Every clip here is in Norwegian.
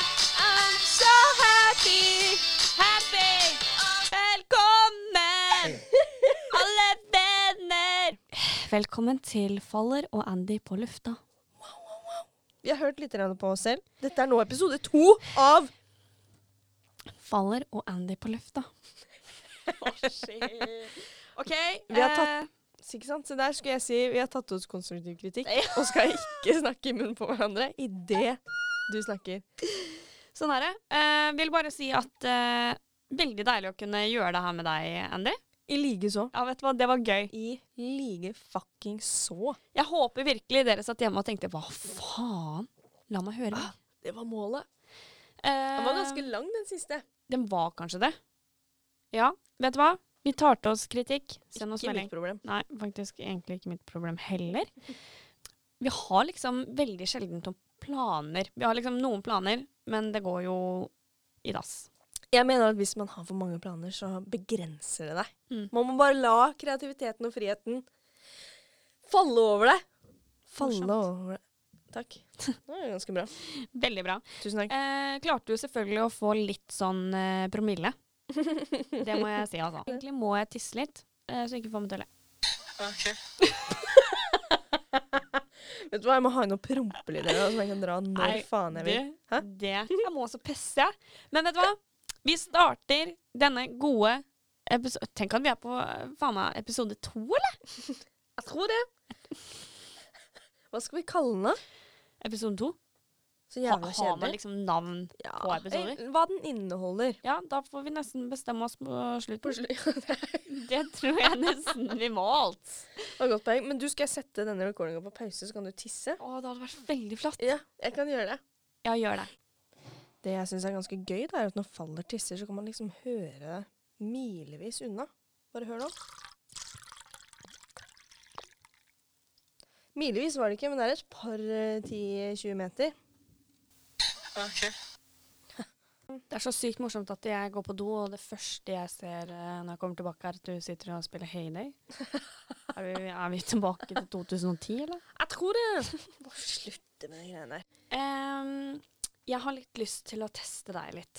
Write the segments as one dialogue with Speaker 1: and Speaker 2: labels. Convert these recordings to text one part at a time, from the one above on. Speaker 1: ben! Alle bender! Velkommen til Faller og Andy på lufta.
Speaker 2: Vi har hørt litt grann på oss selv. Dette er nå episode to av
Speaker 1: Faller og Andy på lufta. Oh, OK. eh,
Speaker 2: Vi har tatt- Så Ikke sant? Så der skulle jeg si vi har tatt oss konstruktiv kritikk og skal ikke snakke i munnen på hverandre i det du snakker.
Speaker 1: sånn er det. Eh, vil bare si at eh, veldig deilig å kunne gjøre det her med deg, Andy.
Speaker 2: I like så.
Speaker 1: Ja, vet du hva, det var gøy.
Speaker 2: I like fucking så.
Speaker 1: Jeg håper virkelig dere satt hjemme og tenkte hva faen? La meg høre.
Speaker 2: Ah, Det var målet.
Speaker 1: Eh,
Speaker 2: Den var ganske lang, den siste.
Speaker 1: Den var kanskje det. Ja, vet du hva? Vi tar til oss kritikk. Send oss
Speaker 2: Ikke
Speaker 1: melding.
Speaker 2: mitt problem.
Speaker 1: Nei, faktisk egentlig ikke mitt problem heller. Vi har liksom veldig sjelden noen planer. Vi har liksom noen planer, men det går jo i dass.
Speaker 2: Jeg mener at hvis man har for mange planer, så begrenser det deg.
Speaker 1: Mm.
Speaker 2: Man må bare la kreativiteten og friheten falle over deg.
Speaker 1: Morsomt.
Speaker 2: Falle over deg. Takk. Det var ganske bra.
Speaker 1: Veldig bra.
Speaker 2: Tusen takk.
Speaker 1: Eh, klarte jo selvfølgelig å få litt sånn eh, promille. Det må jeg si, altså. Egentlig må jeg tisse litt, eh, så jeg ikke får meg til å le.
Speaker 2: Vet du hva, jeg må ha inn noen prompelyder nå, som jeg kan dra når
Speaker 1: Nei,
Speaker 2: faen jeg
Speaker 1: Du,
Speaker 2: vil. Hæ?
Speaker 1: det Jeg må også pisse, jeg. Men vet du hva? Vi starter denne gode episoden Tenk at vi er på eh, faen meg episode to, eller?
Speaker 2: Jeg tror det. Hva skal vi kalle den, da?
Speaker 1: Episode to.
Speaker 2: Så
Speaker 1: Ha, har
Speaker 2: jævla
Speaker 1: man
Speaker 2: kjedelig.
Speaker 1: liksom navn
Speaker 2: Ja,
Speaker 1: på episoder?
Speaker 2: eh, Hva den inneholder.
Speaker 1: Ja, da får vi nesten bestemme oss på slutten.
Speaker 2: Det
Speaker 1: Det tror jeg nesten vi må alt.
Speaker 2: var et godt poeng. Men du, skal jeg sette denne recordinga på pause, så kan du tisse?
Speaker 1: Å, det hadde vært veldig flott.
Speaker 2: Ja, jeg kan gjøre det.
Speaker 1: Ja, gjør det.
Speaker 2: Det jeg syns er ganske gøy, det er at når Faller tisser, så kan man liksom høre det milevis unna. Bare hør nå. Milevis var det ikke, men det er et par eh, 10-20 meter.
Speaker 1: Det er så sykt morsomt at jeg går på do, og det første jeg ser eh, når jeg kommer tilbake, er at du sitter og spiller Heyday. Er vi, er vi tilbake til 2010, eller?
Speaker 2: Jeg tror det! Må slutte med de greiene der.
Speaker 1: Em, jeg har litt lyst til å teste deg litt.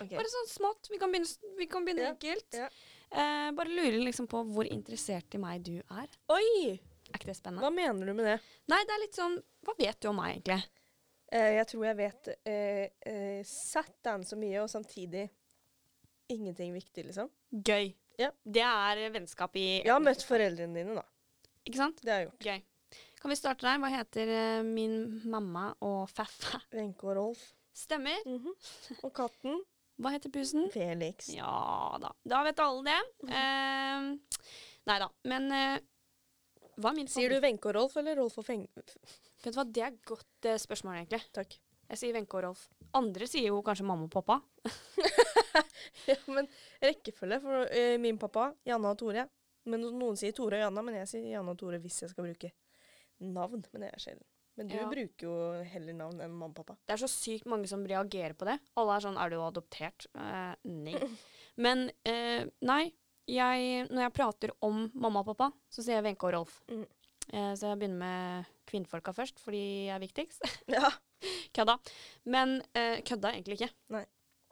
Speaker 2: Ok.
Speaker 1: Bare sånn smått. Vi kan begynne, s- vi kan begynne
Speaker 2: Ja,
Speaker 1: enkelt.
Speaker 2: ja.
Speaker 1: Eh, bare lurer liksom på hvor interessert i meg du er.
Speaker 2: Oi!
Speaker 1: Er ikke det spennende?
Speaker 2: Hva mener du med det?
Speaker 1: Nei, det er litt sånn Hva vet du om meg, egentlig?
Speaker 2: Eh, jeg tror jeg vet eh, eh, Satan så mye, og samtidig ingenting viktig, liksom.
Speaker 1: Gøy.
Speaker 2: Ja.
Speaker 1: Det er eh, vennskap i
Speaker 2: Jeg har møtt foreldrene dine, da.
Speaker 1: Ikke sant?
Speaker 2: Det har jeg gjort.
Speaker 1: Gøy. Kan vi starte der? Hva heter eh, min mamma og faffa?
Speaker 2: Wenche og Rolf.
Speaker 1: Stemmer.
Speaker 2: Mhm. Og katten
Speaker 1: Hva heter pusen?
Speaker 2: Felix.
Speaker 1: Ja da. Da vet alle det. Eh, nei da. Men eh, hva er min
Speaker 2: Sier du Wenche og Rolf, eller Rolf og Feng...
Speaker 1: favoritt- Vet du hva, det er et godt eh, spørsmål, egentlig.
Speaker 2: Takk.
Speaker 1: Jeg sier Wenche og Rolf. Andre sier jo kanskje mamma og pappa.
Speaker 2: Ja, men rekkefølge for eh, min pappa, Janne og Tore. Men no- noen sier Tore og Janne, men jeg sier Janne og Tore hvis jeg skal bruke navn. Men det er sjelden. Men du
Speaker 1: Ja.
Speaker 2: bruker jo heller navn enn mamma og pappa.
Speaker 1: Det er så sykt mange som reagerer på det. Alle er sånn Er du adoptert? Eh, nei. Men eh, nei. Jeg, når jeg prater om mamma og pappa, så sier jeg Wenche og Rolf.
Speaker 2: Mm.
Speaker 1: Eh, så jeg begynner med kvinnfolka først, fordi jeg er viktigst.
Speaker 2: Ja,
Speaker 1: kødda. Men eh, kødda egentlig ikke.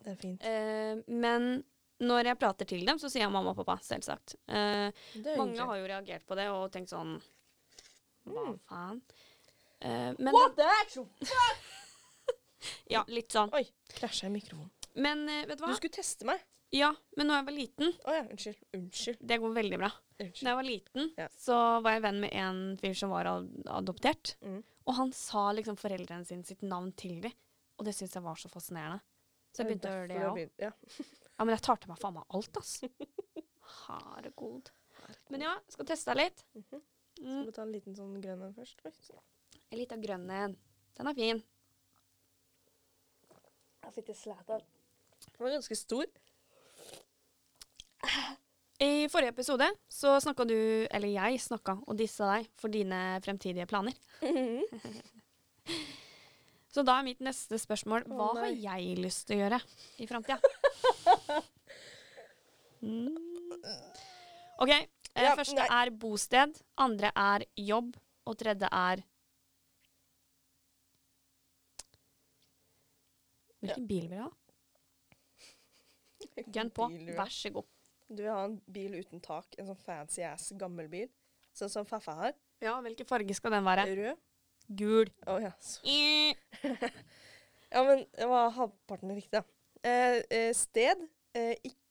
Speaker 2: det er fint.
Speaker 1: Eh, men når jeg prater til dem, så sier jeg mamma og pappa, selvsagt. Eh,
Speaker 2: Det er
Speaker 1: mange
Speaker 2: hyggelig.
Speaker 1: har jo reagert på det og tenkt sånn Hva
Speaker 2: Mm.
Speaker 1: faen? Eh, men
Speaker 2: What the actual?
Speaker 1: Ja, litt sånn.
Speaker 2: Oi, krasja i mikrofonen.
Speaker 1: Men eh, vet du
Speaker 2: Du
Speaker 1: hva?
Speaker 2: skulle teste meg.
Speaker 1: Ja, men når jeg var liten
Speaker 2: Å ja, unnskyld. Unnskyld.
Speaker 1: Det går veldig bra. Da
Speaker 2: unnskyld.
Speaker 1: jeg var liten,
Speaker 2: Ja.
Speaker 1: så var jeg venn med en fyr som var ad- adoptert.
Speaker 2: Mm.
Speaker 1: Og han sa liksom foreldrene sine sitt navn til dem. Og det syntes jeg var så fascinerende. Så jeg begynte å gjøre det, jeg òg.
Speaker 2: òg. Ja.
Speaker 1: Ja, men jeg tar til meg faen meg alt, ass. Herregud. Men ja, skal teste deg litt.
Speaker 2: Mhm. Skal
Speaker 1: Mm,
Speaker 2: vi ta en liten sånn grønn en først? Oi, så-
Speaker 1: en liten grønn en. Den er fin.
Speaker 2: Jeg fikk det slæta. Den var ganske stor.
Speaker 1: I forrige episode så snakka du, eller jeg snakka, og dissa deg for dine fremtidige planer. Så da er mitt neste spørsmål
Speaker 2: Å,
Speaker 1: hva har
Speaker 2: nei.
Speaker 1: jeg lyst til å gjøre i framtida? Mm. OK. eh,
Speaker 2: Ja,
Speaker 1: første
Speaker 2: nei.
Speaker 1: er bosted, andre er jobb, og tredje er Hvilken bil vil du ha? Gun på.
Speaker 2: Bilur.
Speaker 1: Vær så god.
Speaker 2: Du vil ha en bil uten tak. En sånn fancy ass gammel bil. Sånn som Faffa har.
Speaker 1: Ja, hvilken farge skal den være?
Speaker 2: Rød.
Speaker 1: Gul.
Speaker 2: Å ja. så-
Speaker 1: Eh.
Speaker 2: ja, men det var halvparten riktig, da. Eh, eh, sted eh, ikk-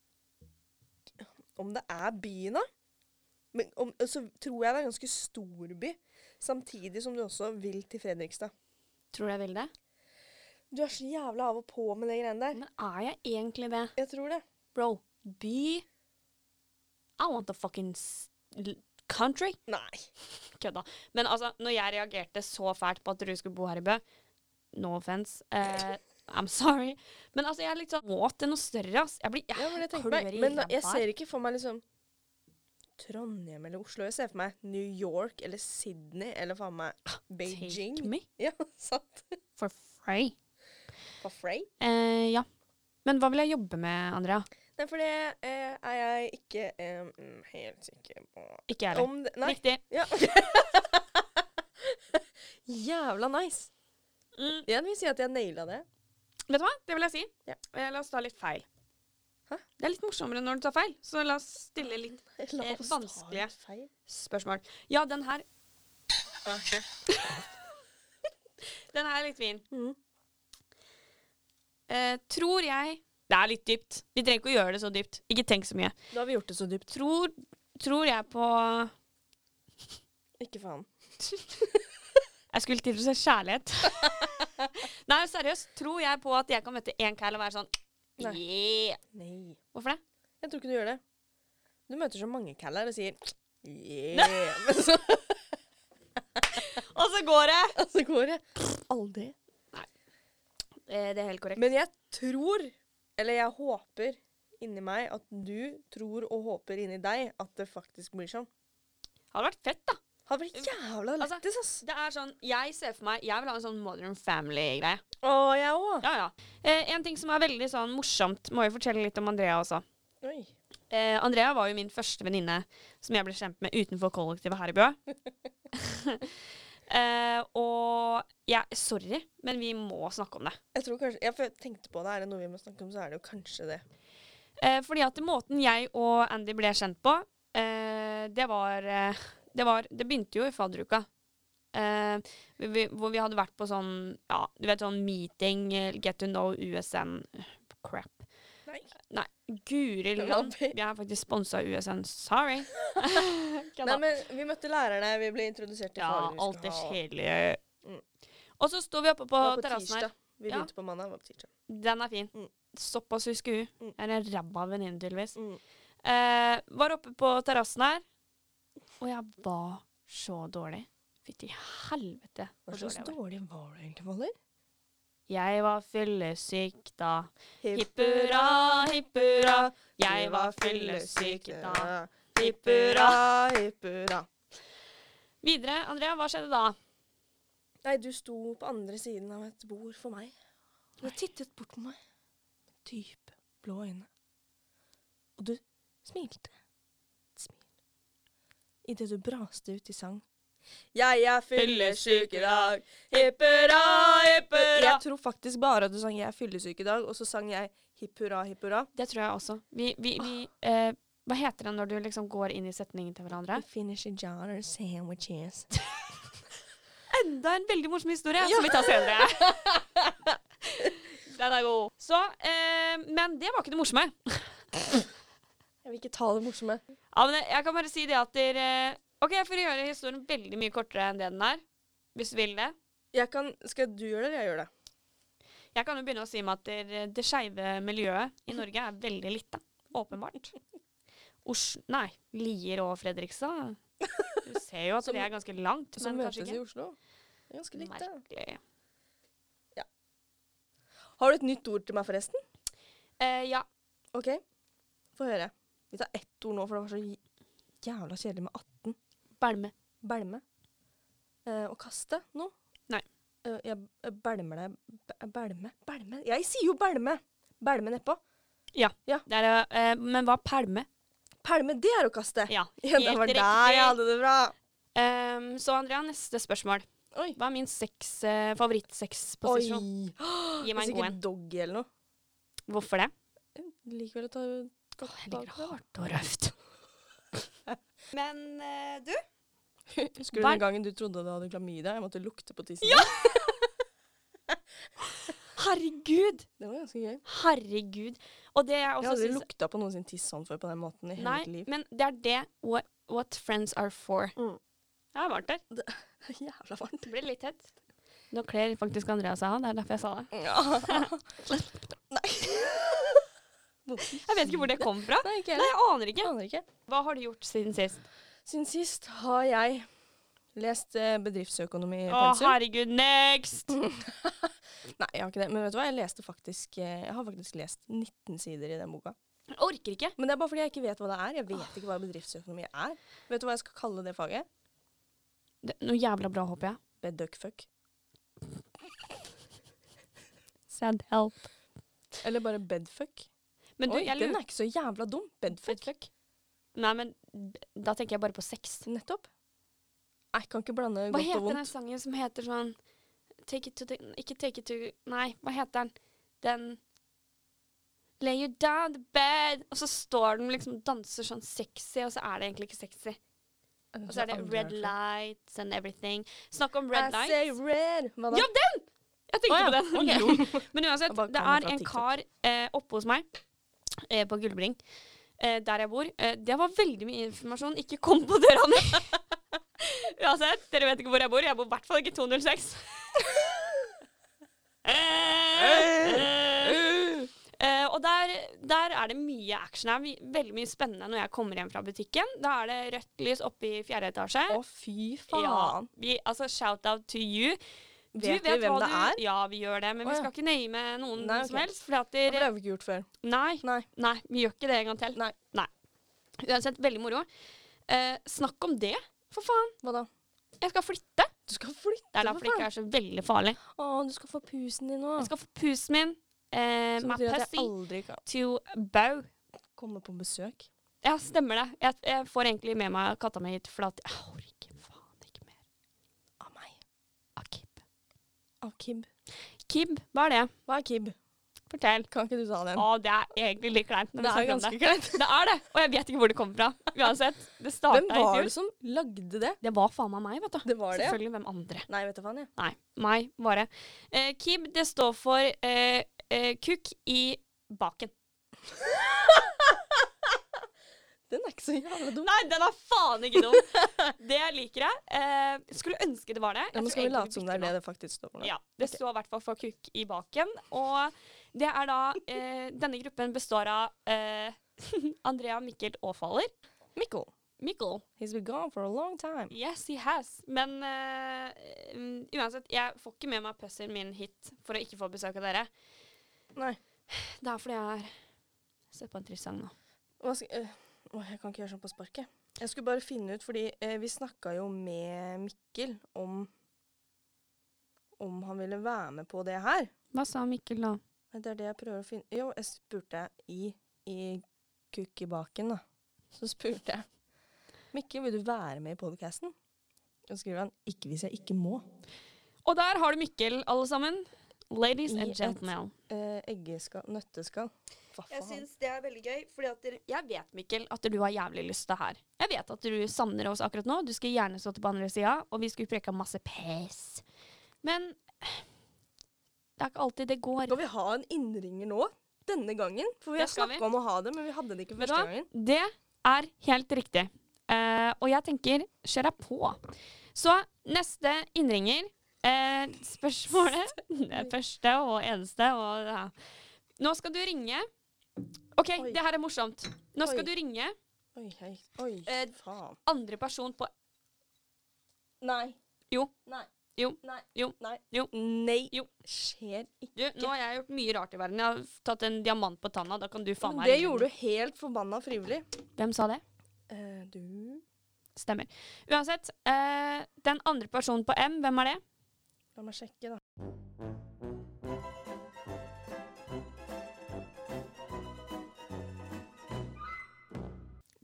Speaker 2: Om det er byen, da? Men om, så tror jeg det er en ganske stor by. Samtidig som du også vil til Fredrikstad.
Speaker 1: Tror du jeg vil det?
Speaker 2: Du er så jævla av og på med de greiene der.
Speaker 1: Men er jeg egentlig det?
Speaker 2: Jeg tror det.
Speaker 1: Bro, by I want the fucking s- l- country.
Speaker 2: Nei.
Speaker 1: Kødda. Men altså, når jeg reagerte så fælt på at du skulle bo her i Bø No offense. eh, I'm sorry. Men altså, jeg er litt sånn Må til noe større, ass. Jeg blir jeg
Speaker 2: Ja, men jeg tenker
Speaker 1: klør
Speaker 2: meg,
Speaker 1: i
Speaker 2: men
Speaker 1: ræva
Speaker 2: jeg
Speaker 1: her.
Speaker 2: ser ikke for meg liksom Trondheim eller Oslo. Jeg ser for meg New York eller Sydney eller faen meg Beijing.
Speaker 1: Take me
Speaker 2: Ja, sant.
Speaker 1: for free.
Speaker 2: For Frey.
Speaker 1: Eh, ja. Men hva vil jeg jobbe med, Andrea?
Speaker 2: Nei, for det eh, er jeg ikke eh, mm, helt sikker på.
Speaker 1: Ikke jeg heller.
Speaker 2: Om det Nei.
Speaker 1: Riktig.
Speaker 2: Ja. Jævla nice.
Speaker 1: Mm.
Speaker 2: Jeg vil si at jeg naila det.
Speaker 1: Vet du hva? Det vil jeg si.
Speaker 2: Ja.
Speaker 1: Eh, la oss ta litt feil.
Speaker 2: Hæ?
Speaker 1: Det er litt morsommere når du tar feil, så la oss stille litt
Speaker 2: La
Speaker 1: Eh,
Speaker 2: oss ta
Speaker 1: vanskelige.
Speaker 2: litt feil.
Speaker 1: spørsmål. Ja, den her Den her er litt fin.
Speaker 2: Mhm.
Speaker 1: Eh, tror jeg Det er litt dypt. Vi trenger ikke å gjøre det så dypt. Ikke tenk så mye.
Speaker 2: Da har vi gjort det så dypt.
Speaker 1: Tror, tror jeg på
Speaker 2: Ikke faen.
Speaker 1: Jeg skulle til å si kjærlighet. Nei, seriøst. Tror jeg på at jeg kan møte én kæll og være sånn
Speaker 2: Nei.
Speaker 1: Yeah!
Speaker 2: Nei.
Speaker 1: Hvorfor det?
Speaker 2: Jeg tror ikke du gjør det. Du møter så mange caller og sier yeah. Men så,
Speaker 1: Og så går det!
Speaker 2: så går det aldri.
Speaker 1: Eh, det er helt korrekt.
Speaker 2: Men jeg tror, eller jeg håper inni meg, at du tror og håper inni deg at det faktisk blir sånn.
Speaker 1: Hadde vært fett, da.
Speaker 2: Hadde vært jævla
Speaker 1: Altså-
Speaker 2: lættis, ass.
Speaker 1: Det er sånn, Jeg ser for meg Jeg vil ha en sånn Modern Family-greie.
Speaker 2: Å, jeg òg.
Speaker 1: Ja, ja. Eh, en ting som er veldig sånn morsomt, må jeg fortelle litt om Andrea også.
Speaker 2: Oi.
Speaker 1: Eh, Andrea var jo min første venninne som jeg ble kjent med utenfor kollektivet her i Bø. eh, og jeg Sorry, men vi må snakke om det.
Speaker 2: Jeg tror kanskje, jeg fø- tenkte på det, er det noe vi må snakke om, så er det jo kanskje det.
Speaker 1: Eh, fordi at måten jeg og Andy ble kjent på, eh, det, var, eh, det var Det begynte jo i fadderuka. Eh, vi, vi, hvor vi hadde vært på sånn ja, du vet sånn meeting, eh, get to know USN crap.
Speaker 2: Nei.
Speaker 1: Nei, guri land.
Speaker 2: Labby.
Speaker 1: Vi er faktisk sponsa av USN. Sorry.
Speaker 2: Nei, men vi møtte lærerne, vi ble introdusert til
Speaker 1: ja,
Speaker 2: faget vi
Speaker 1: alt det
Speaker 2: skulle ha.
Speaker 1: kjedelige.
Speaker 2: Mm.
Speaker 1: Og så sto vi oppe på,
Speaker 2: Det var på
Speaker 1: terrassen her.
Speaker 2: tirsdag. Vi
Speaker 1: Ja.
Speaker 2: begynte på mandag, det var på tirsdag.
Speaker 1: Den er fin.
Speaker 2: Mm.
Speaker 1: Såpass husker hun.
Speaker 2: Mm.
Speaker 1: Jeg er en ræva venninne, tydeligvis.
Speaker 2: Mm.
Speaker 1: Eh, var oppe på terrassen her, og jeg var så dårlig. Fytti helvete. hvor
Speaker 2: Hva slags
Speaker 1: dårlig jeg var.
Speaker 2: dårlig var du egentlig, Valer?
Speaker 1: Jeg var fyllesyk da. Hipp hurra, hipp hurra. Jeg var fyllesyk da. Hipp hurra.
Speaker 2: hipp hurra.
Speaker 1: Videre, Andrea, hva skjedde da?
Speaker 2: Nei, du sto på andre siden av et bord for meg. Du tittet bort på meg. Dype, blå øyne. Og du smilte. Et smil. Idet du braste ut i sang. Jeg er fyllesyk i dag. Hipp hurra, hipp hurra. Jeg tror faktisk bare at du sang 'Jeg er fyllesyk i dag', og så sang jeg 'Hipp hurra, hipp hurra'.
Speaker 1: Det tror jeg også. Vi, vi, vi eh, Hva heter det når du liksom går inn i setningen til hverandre?
Speaker 2: We finish a jar of sandwiches.
Speaker 1: Enda en veldig morsom historie som vi tar senere. Den er god. Så, eh, Men det var ikke det morsomme.
Speaker 2: Jeg vil ikke ta det morsomme.
Speaker 1: Ja, men jeg kan bare si det at dere OK, for å gjøre historien veldig mye kortere enn det den er, hvis du vil det
Speaker 2: Jeg kan, skal du gjøre det, eller jeg gjør det?
Speaker 1: Jeg kan jo begynne å si meg at det, det skeive miljøet i Norge er veldig lite. Åpenbart. Oslo Nei, Lier og Fredrikstad. Du ser jo at
Speaker 2: Som-
Speaker 1: det er ganske langt,
Speaker 2: Som
Speaker 1: men kanskje
Speaker 2: møtes i
Speaker 1: ikke.
Speaker 2: Oslo. Det er ganske likt, det.
Speaker 1: Merkelig.
Speaker 2: Har du et nytt ord til meg, forresten?
Speaker 1: Eh, ja.
Speaker 2: OK, få høre. Vi tar ett ord nå, for det var så j- jævla kjedelig med 18.
Speaker 1: Bælme.
Speaker 2: Bælme. Eh, å kaste noe.
Speaker 1: Nei.
Speaker 2: Eh, jeg jeg bælmer deg b- eh, Bælme? Bælme? Jeg sier jo bælme! Bælme nedpå.
Speaker 1: Det er, eh, men hva er pælme?
Speaker 2: Pælme, det er å kaste!
Speaker 1: Ja.
Speaker 2: Ja, det
Speaker 1: helt
Speaker 2: var
Speaker 1: riktig.
Speaker 2: der jeg hadde det bra!
Speaker 1: Ehm, så Andrea, neste spørsmål.
Speaker 2: Oi.
Speaker 1: Hva er min seks, eh, favorittsexposisjon?
Speaker 2: Oi.
Speaker 1: Gi
Speaker 2: Det er
Speaker 1: meg en god en.
Speaker 2: Sikkert doggy eller noe.
Speaker 1: Hvorfor det?
Speaker 2: Likevel tar du
Speaker 1: Åh, jeg liker det hardt og røft.
Speaker 3: Men eh, du,
Speaker 2: Husker du
Speaker 1: Hver-
Speaker 2: den gangen du trodde du hadde klamydia? Jeg måtte lukte på tissen. din?
Speaker 1: Herregud!
Speaker 2: Det var ganske gøy.
Speaker 1: Herregud. Og det jeg
Speaker 2: Jeg har
Speaker 1: også
Speaker 2: aldri
Speaker 1: syns
Speaker 2: lukta på noen sin tiss sånn før på den måten i hele
Speaker 1: Nei,
Speaker 2: mitt liv.
Speaker 1: men det er det what, what friends are for.
Speaker 2: Mm.
Speaker 1: Jeg har vært der.
Speaker 2: Jævla varmt.
Speaker 1: Det blir litt tett. Nå kler faktisk Andrea seg av. Det er derfor jeg sa det.
Speaker 2: Nei.
Speaker 1: Jeg vet ikke hvor det kom fra.
Speaker 2: Nei, ikke
Speaker 1: Nei,
Speaker 2: heller.
Speaker 1: jeg aner ikke.
Speaker 2: Jeg aner ikke.
Speaker 1: Hva har du gjort siden sist?
Speaker 2: Siden sist har jeg lest eh, bedriftsøkonomi i
Speaker 1: Å,
Speaker 2: pensum.
Speaker 1: herregud, next!
Speaker 2: Nei, jeg har ikke det. Men vet du hva? Jeg, leste faktisk, eh, jeg har faktisk lest 19 sider i den boka.
Speaker 1: Jeg orker ikke.
Speaker 2: Men det er bare fordi jeg ikke vet hva det er. Jeg
Speaker 1: Ah.
Speaker 2: vet ikke hva bedriftsøkonomi er. Vet du hva jeg skal kalle det faget?
Speaker 1: Det, noe jævla bra, håper jeg.
Speaker 2: Bedduckfuck.
Speaker 1: Sad help.
Speaker 2: Eller bare bedfuck.
Speaker 1: Men du,
Speaker 2: Oi,
Speaker 1: jeg
Speaker 2: den
Speaker 1: lurer
Speaker 2: er ikke så jævla dum. Bedfuck.
Speaker 1: Nei, men d- da tenker jeg bare på sex.
Speaker 2: Nettopp. Jeg kan ikke
Speaker 1: Hva
Speaker 2: blande godt og
Speaker 1: heter den
Speaker 2: vondt.
Speaker 1: sangen som heter sånn take it to the, Ikke take it to Nei, hva heter den? Den Lay you down the bed Og så står den liksom og danser sånn sexy, og så er det egentlig ikke sexy. Og så er det red lights and everything. Snakk om red
Speaker 2: I say
Speaker 1: lights.
Speaker 2: red. Hva da?
Speaker 1: Ja, Jeg tenkte
Speaker 2: Å, ja.
Speaker 1: på den.
Speaker 2: Ok.
Speaker 1: Men
Speaker 2: Jeg
Speaker 1: uansett,
Speaker 2: bare
Speaker 1: det
Speaker 2: kan
Speaker 1: er
Speaker 2: den fra
Speaker 1: en
Speaker 2: TikTok.
Speaker 1: kar eh, oppe hos meg eh, på Gullbring, eh, der jeg bor. Eh, det var veldig mye informasjon. Ikke kom på døra mi! uansett, dere vet ikke hvor jeg bor. Jeg bor i hvert fall ikke 206. eh, eh, og der, der er det mye action. Det er my- veldig mye spennende når jeg kommer hjem fra butikken. Da er det rødt lys oppe i fjerde etasje.
Speaker 2: Å, fy
Speaker 1: Ja,
Speaker 2: faen.
Speaker 1: vi, altså shout out to you. Du
Speaker 2: Vet vi hvem
Speaker 1: hva
Speaker 2: det
Speaker 1: du-
Speaker 2: er?
Speaker 1: Ja, vi gjør det, men
Speaker 2: Å,
Speaker 1: vi
Speaker 2: ja.
Speaker 1: skal ikke name noen
Speaker 2: Nei,
Speaker 1: som
Speaker 2: ok.
Speaker 1: helst. Fordi at
Speaker 2: Ja, for Det
Speaker 1: dere,
Speaker 2: har vi ikke gjort før.
Speaker 1: nei,
Speaker 2: Nei.
Speaker 1: nei, vi gjør ikke det en gang til.
Speaker 2: Nei.
Speaker 1: Uansett, veldig moro. Eh, snakk om det, for faen.
Speaker 2: Hva da?
Speaker 1: Jeg skal flytte.
Speaker 2: Du skal flytte,
Speaker 1: Det er
Speaker 2: for
Speaker 1: derfor det ikke
Speaker 2: faen.
Speaker 1: er så veldig farlig.
Speaker 2: Å, du skal få pusen din nå.
Speaker 1: Jeg skal få pusen min, eh,
Speaker 2: Som
Speaker 1: my
Speaker 2: betyr at jeg
Speaker 1: pussy,
Speaker 2: aldri kan
Speaker 1: to bow.
Speaker 2: komme på besøk.
Speaker 1: Ja, stemmer det. Jeg, jeg får egentlig med meg katta mi hit, for at jeg orker faen ikke mer
Speaker 2: Av meg.
Speaker 1: av Kib.
Speaker 2: Av Kib.
Speaker 1: Kib, hva er det?
Speaker 2: Hva er Kib?
Speaker 1: Fortell.
Speaker 2: Kan ikke du ta den?
Speaker 1: Å, det er egentlig litt kleint. når vi
Speaker 2: det
Speaker 1: snakker om
Speaker 2: er
Speaker 1: det.
Speaker 2: ganske kleint.
Speaker 1: Det er det, og jeg vet ikke hvor det kom fra. Uansett, det starta
Speaker 2: Hvem
Speaker 1: i
Speaker 2: var
Speaker 1: fjor.
Speaker 2: det som lagde det?
Speaker 1: Det var faen meg meg, vet du.
Speaker 2: Det var det, ja.
Speaker 1: Selvfølgelig hvem andre.
Speaker 2: Nei, vet du faen, jeg.
Speaker 1: Nei, meg var det. Eh, Kib, det står for eh, eh, kukk i baken.
Speaker 2: Den er ikke så jævla dum.
Speaker 1: Nei, den er faen ikke dum! Det liker jeg. Eh, skulle ønske det var det. Jeg
Speaker 2: Ja, men
Speaker 1: tror
Speaker 2: skal vi
Speaker 1: egentlig
Speaker 2: late som det er
Speaker 1: bytter
Speaker 2: det det faktisk står for? nå?
Speaker 1: Ja, Det
Speaker 2: Ok.
Speaker 1: står i hvert fall for kukk i baken. Og det er da eh, Denne gruppen består av eh, Andrea, Mikkel og Faller.
Speaker 2: Mikkel.
Speaker 1: Mikkel.
Speaker 2: He's been gone for a long time.
Speaker 1: Yes, he has. Men eh, mm, uansett, jeg får ikke med meg pussyen min hit for å ikke få besøk av dere.
Speaker 2: Nei.
Speaker 1: Det er fordi jeg er Sett på en trist sang nå.
Speaker 2: Hva skal, øh, åh, jeg kan ikke gjøre sånn på sparket. Jeg skulle bare finne ut, fordi eh, vi snakka jo med Mikkel om om han ville være med på det her.
Speaker 1: Hva sa Mikkel da?
Speaker 2: Nei, Det er det jeg prøver å finne Jo, jeg spurte i, i kukkibaken, da. Så spurte jeg Mikkel, vil du være med i podkasten? Og så skriver han 'ikke hvis jeg ikke må'.
Speaker 1: Og der har du Mikkel, alle sammen. Ladies
Speaker 2: I
Speaker 1: and
Speaker 2: et-
Speaker 1: gentlemen.
Speaker 2: Eh, eggeskall Nøtteskall. Hva
Speaker 3: jeg
Speaker 2: faen?
Speaker 3: syns det er veldig gøy, fordi at dere
Speaker 1: Jeg vet, Mikkel, at du har jævlig lyst til det her. Jeg vet at du savner oss akkurat nå. Du skulle gjerne stått på andre sida, og vi skulle preka masse pes. Men det er ikke alltid det går.
Speaker 2: Skal vi ha en innringer nå? Denne gangen? For vi
Speaker 1: Det
Speaker 2: har
Speaker 1: skal
Speaker 2: snakka om å ha det, men vi hadde det ikke
Speaker 1: Vet du hva?
Speaker 2: første gangen.
Speaker 1: Det er helt riktig. Eh, og jeg tenker, kjør deg på. Så neste innringer eh, Spørsmålet Det første og eneste og ja. Nå skal du ringe. OK,
Speaker 2: Oi.
Speaker 1: det her er morsomt. Nå skal
Speaker 2: Oi.
Speaker 1: du ringe
Speaker 2: Oi, hei. Oi,
Speaker 1: Eh,
Speaker 2: faen.
Speaker 1: andre person på
Speaker 2: Nei.
Speaker 1: Jo.
Speaker 2: Nei.
Speaker 1: Jo.
Speaker 2: Nei.
Speaker 1: Jo.
Speaker 2: Nei.
Speaker 1: Jo.
Speaker 2: Nei.
Speaker 1: Jo.
Speaker 2: Skjer ikke.
Speaker 1: Du, nå har jeg gjort mye rart i verden. Jeg har tatt en diamant på tanna. Da kan du faen
Speaker 2: Men
Speaker 1: meg
Speaker 2: det
Speaker 1: ringe.
Speaker 2: gjorde du helt forbanna frivillig.
Speaker 1: Hvem sa det?
Speaker 2: Eh, du
Speaker 1: Stemmer. Uansett, eh, den andre personen på M, hvem er det?
Speaker 2: La meg sjekke, da.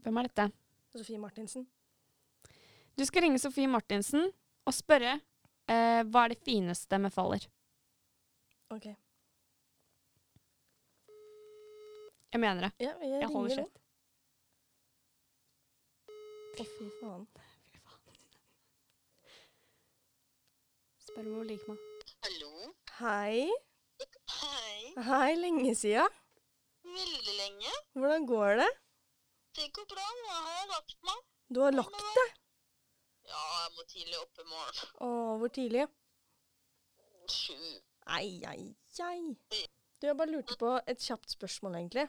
Speaker 1: Hvem er dette?
Speaker 2: Sofie Martinsen.
Speaker 1: Du skal ringe Sofie Martinsen og spørre eh, hva er det fineste med Faller.
Speaker 2: OK.
Speaker 1: Jeg mener det.
Speaker 2: Ja, jeg,
Speaker 1: Jeg holder
Speaker 2: ringer nå.
Speaker 1: kjeft.
Speaker 2: Å, fy faen.
Speaker 1: Spør om hun liker meg.
Speaker 4: Hallo?
Speaker 2: Hei.
Speaker 4: Hei.
Speaker 2: Hei, lenge sia.
Speaker 4: Veldig lenge.
Speaker 2: Hvordan går det?
Speaker 4: Det går bra. Nå har jeg lagt meg.
Speaker 2: Du har lagt deg.
Speaker 4: Ja, jeg må tidlig opp i morgen.
Speaker 2: Å, hvor tidlig?
Speaker 4: Sju.
Speaker 2: Ei, ei, ei. Du, jeg bare lurte på et kjapt spørsmål, egentlig.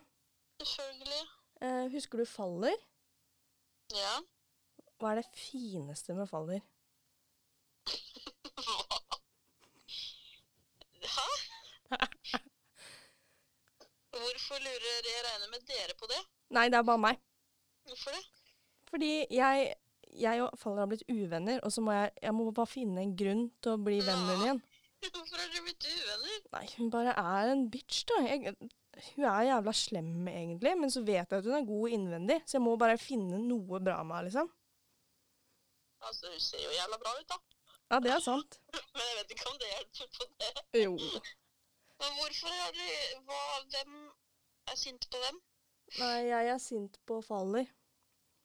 Speaker 4: Selvfølgelig.
Speaker 2: Eh, husker du Faller?
Speaker 4: Ja.
Speaker 2: Hva er det fineste med Faller?
Speaker 4: Hæ? Hvorfor lurer jeg regner med dere på det?
Speaker 2: Nei, det er bare meg.
Speaker 4: Hvorfor det?
Speaker 2: Fordi jeg, jeg og Faller har blitt uvenner, og så må jeg, jeg må bare finne en grunn til å bli venner igjen.
Speaker 4: Hvorfor har dere blitt uvenner?
Speaker 2: Nei, hun bare er en bitch, da. Jeg, hun er jævla slem, egentlig, men så vet jeg at hun er god innvendig, så jeg må bare finne noe bra med henne, liksom.
Speaker 4: Altså, hun ser jo jævla bra ut, da.
Speaker 2: Ja, det er sant.
Speaker 4: Men jeg vet ikke om det hjelper på det.
Speaker 2: Jo.
Speaker 4: Men hvorfor har dere Hva Hvem er sint på hvem?
Speaker 2: Nei, jeg er sint på Faller.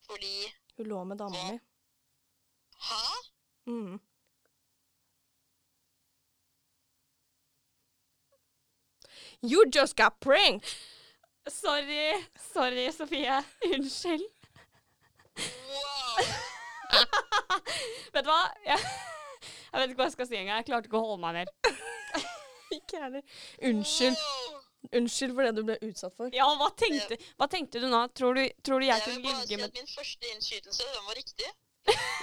Speaker 4: Fordi
Speaker 2: Hun lå med dama mi.
Speaker 4: Hæ?
Speaker 2: Mm. You just got pranked!
Speaker 1: Sorry, sorry, Sofie. Unnskyld.
Speaker 4: Wow!
Speaker 1: Vet du hva? Jeg, jeg vet ikke hva jeg skal si engang. Jeg klarte ikke å holde meg mer.
Speaker 2: Ikke jeg heller. Unnskyld.
Speaker 4: Wow.
Speaker 2: Unnskyld for det du ble utsatt for.
Speaker 1: Ja, hva tenkte, hva tenkte du nå? Tror du, tror du jeg
Speaker 4: Jeg vil
Speaker 1: kunne
Speaker 4: bare si
Speaker 1: ligge med
Speaker 4: at min første innskytelse den var riktig.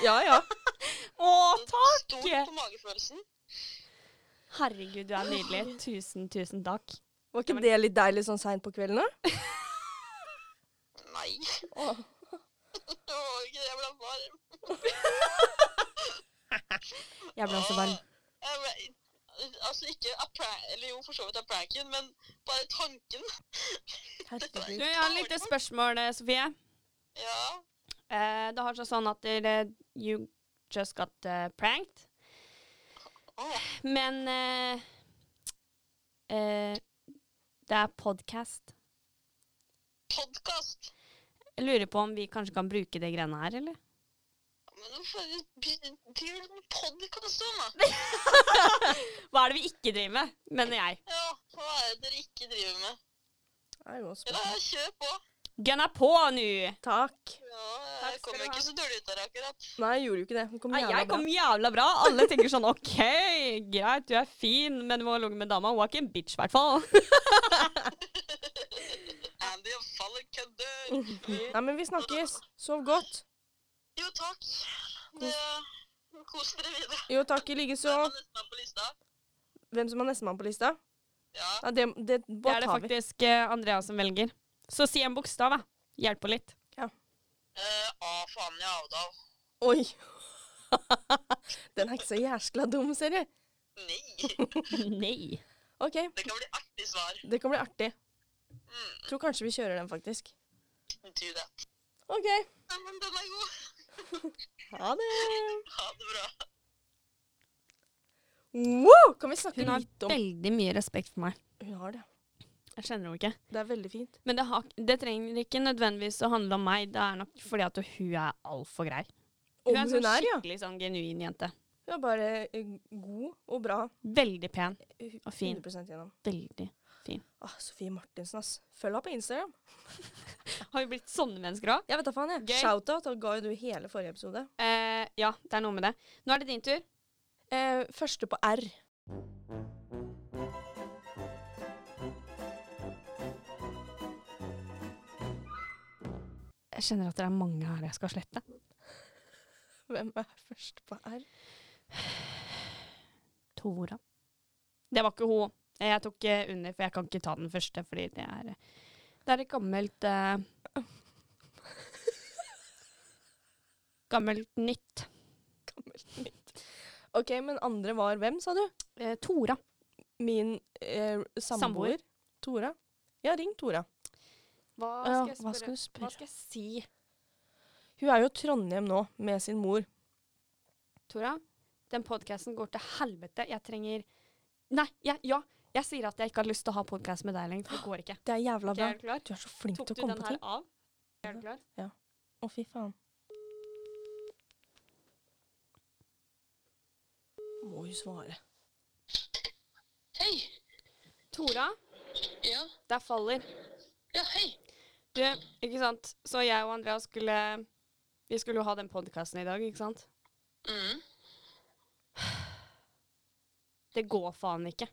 Speaker 2: Ja, ja.
Speaker 1: Å,
Speaker 4: Stort
Speaker 1: takk!
Speaker 4: på magefølelsen.
Speaker 1: Herregud, du er nydelig. Tusen, tusen takk.
Speaker 2: Var ikke det litt deilig sånn seint på kvelden, da?
Speaker 4: Nei.
Speaker 2: Åh.
Speaker 4: Det var ikke det. Jeg ble varm.
Speaker 1: Jeg ble også varm.
Speaker 4: Jeg ble, altså ikke av prank, eller jo, for så vidt av pranken, men bare tanken.
Speaker 1: Du,
Speaker 2: Herregud.
Speaker 1: jeg har et lite spørsmål, eh, Sofie.
Speaker 4: Ja.
Speaker 1: Eh, det har seg sånn at dere You just got eh, pranked.
Speaker 4: Åh.
Speaker 1: Men eh, eh, det er podkast.
Speaker 4: Podkast.
Speaker 1: Jeg lurer på om vi kanskje kan bruke de greiene her, eller?
Speaker 4: Men hvorfor driver du med podkast sånn, da?
Speaker 1: Hva er det vi ikke driver med, mener jeg.
Speaker 4: Ja, hva er det dere ikke driver med?
Speaker 2: Det er jo også
Speaker 4: Ja,
Speaker 2: bra.
Speaker 4: kjør på.
Speaker 1: Gunna på nå!
Speaker 2: Takk.
Speaker 4: Ja,
Speaker 1: Takk
Speaker 4: jeg
Speaker 1: skal
Speaker 4: kom
Speaker 1: du ha.
Speaker 4: ikke så dårlig ut der akkurat.
Speaker 2: Nei, jeg gjorde jo ikke det. Hun kom
Speaker 1: Nei,
Speaker 2: jævla
Speaker 1: jeg
Speaker 2: bra.
Speaker 1: kom jævla bra. Alle tenker sånn OK, greit, du er fin, men du må ligge med dama. Hun er ikke en bitch, i hvert fall.
Speaker 4: Andy og Faller kødder.
Speaker 2: Nei, men vi snakkes. Sov godt.
Speaker 4: Jo, takk. Det, kos dere videre.
Speaker 2: Jo, takk i likeså.
Speaker 4: Hvem er nestemann på lista?
Speaker 2: Hvem som er nestemann på lista?
Speaker 4: Ja.
Speaker 2: Nei, det, det,
Speaker 1: Det
Speaker 2: bare
Speaker 1: er det
Speaker 2: tar vi.
Speaker 1: faktisk eh, Andrea som velger. Så si en bokstav, da. Hjelper litt.
Speaker 4: Eh, A for Anja Avdal.
Speaker 2: Oi. Den er ikke så jæskla dum, ser du.
Speaker 4: Nei.
Speaker 1: Nei.
Speaker 2: OK,
Speaker 4: Det kan bli artig svar.
Speaker 2: det kan bli artig.
Speaker 4: Mm,
Speaker 2: Tror kanskje vi kjører den, faktisk.
Speaker 4: do that.
Speaker 2: OK.
Speaker 4: Ja, men den er god.
Speaker 2: Ha det.
Speaker 4: Ha det bra.
Speaker 2: Wow! Kan vi snakke
Speaker 1: Hun har
Speaker 2: litt om
Speaker 1: veldig mye respekt for meg.
Speaker 2: Hun har det.
Speaker 1: Jeg kjenner henne ikke.
Speaker 2: Det er veldig fint.
Speaker 1: Men det, har, det trenger ikke nødvendigvis å handle om meg. Det er nok fordi at hun er altfor grei.
Speaker 2: Om
Speaker 1: er en
Speaker 2: hun
Speaker 1: sånn
Speaker 2: er, ja.
Speaker 1: skikkelig sånn genuin jente.
Speaker 2: Hun er bare eh, god og bra.
Speaker 1: Veldig pen.
Speaker 2: Hu-
Speaker 1: Og fin.
Speaker 2: 100 gjennom.
Speaker 1: Veldig.
Speaker 2: Ah, Sofie Martinsen, ass. Følg henne på Instagram.
Speaker 1: Har vi blitt sånne mennesker òg?
Speaker 2: Jeg vet da faen, jeg.
Speaker 1: Gøy.
Speaker 2: Shoutout ga jo du hele forrige episode.
Speaker 1: Eh, ja, det er noe med det. Nå er det din tur.
Speaker 2: Eh, første på R.
Speaker 1: Jeg kjenner at det er mange her jeg skal slette.
Speaker 2: Hvem er først på R?
Speaker 1: Tora. Det var ikke hun. Jeg tok eh, under, for jeg kan ikke ta den første, fordi det er Det er et gammelt eh, Gammelt nytt.
Speaker 2: Gammelt nytt. OK, men andre var hvem, sa du?
Speaker 1: Eh, Tora.
Speaker 2: Min eh,
Speaker 1: Samboer.
Speaker 2: samboer. Tora. Ja, ring Tora.
Speaker 1: Hva
Speaker 2: Ja,
Speaker 1: skal, jeg spørre?
Speaker 2: du
Speaker 1: Hva skal jeg si?
Speaker 2: Hun er jo i Trondheim nå, med sin mor.
Speaker 1: Tora, den podkasten går til helvete. Jeg trenger Nei, ja, ja. Jeg sier at jeg ikke har lyst til å ha podkast med deg lenger, for det går ikke.
Speaker 2: Det er jævla
Speaker 1: Ok,
Speaker 2: bra.
Speaker 1: er du klar?
Speaker 2: Du er så flink
Speaker 1: Tok
Speaker 2: til å
Speaker 1: du
Speaker 2: komme
Speaker 1: den
Speaker 2: på
Speaker 1: her
Speaker 2: ting.
Speaker 1: av? Er du klar?
Speaker 2: Å, fy faen. Må jo svare.
Speaker 5: Hei!
Speaker 1: Tora,
Speaker 5: Ja,
Speaker 1: der faller.
Speaker 5: ja, hei!
Speaker 1: Du, ikke sant? Så jeg og Andrea skulle Vi skulle jo ha den podkasten i dag, ikke sant?
Speaker 5: Mm.
Speaker 1: Det går faen ikke.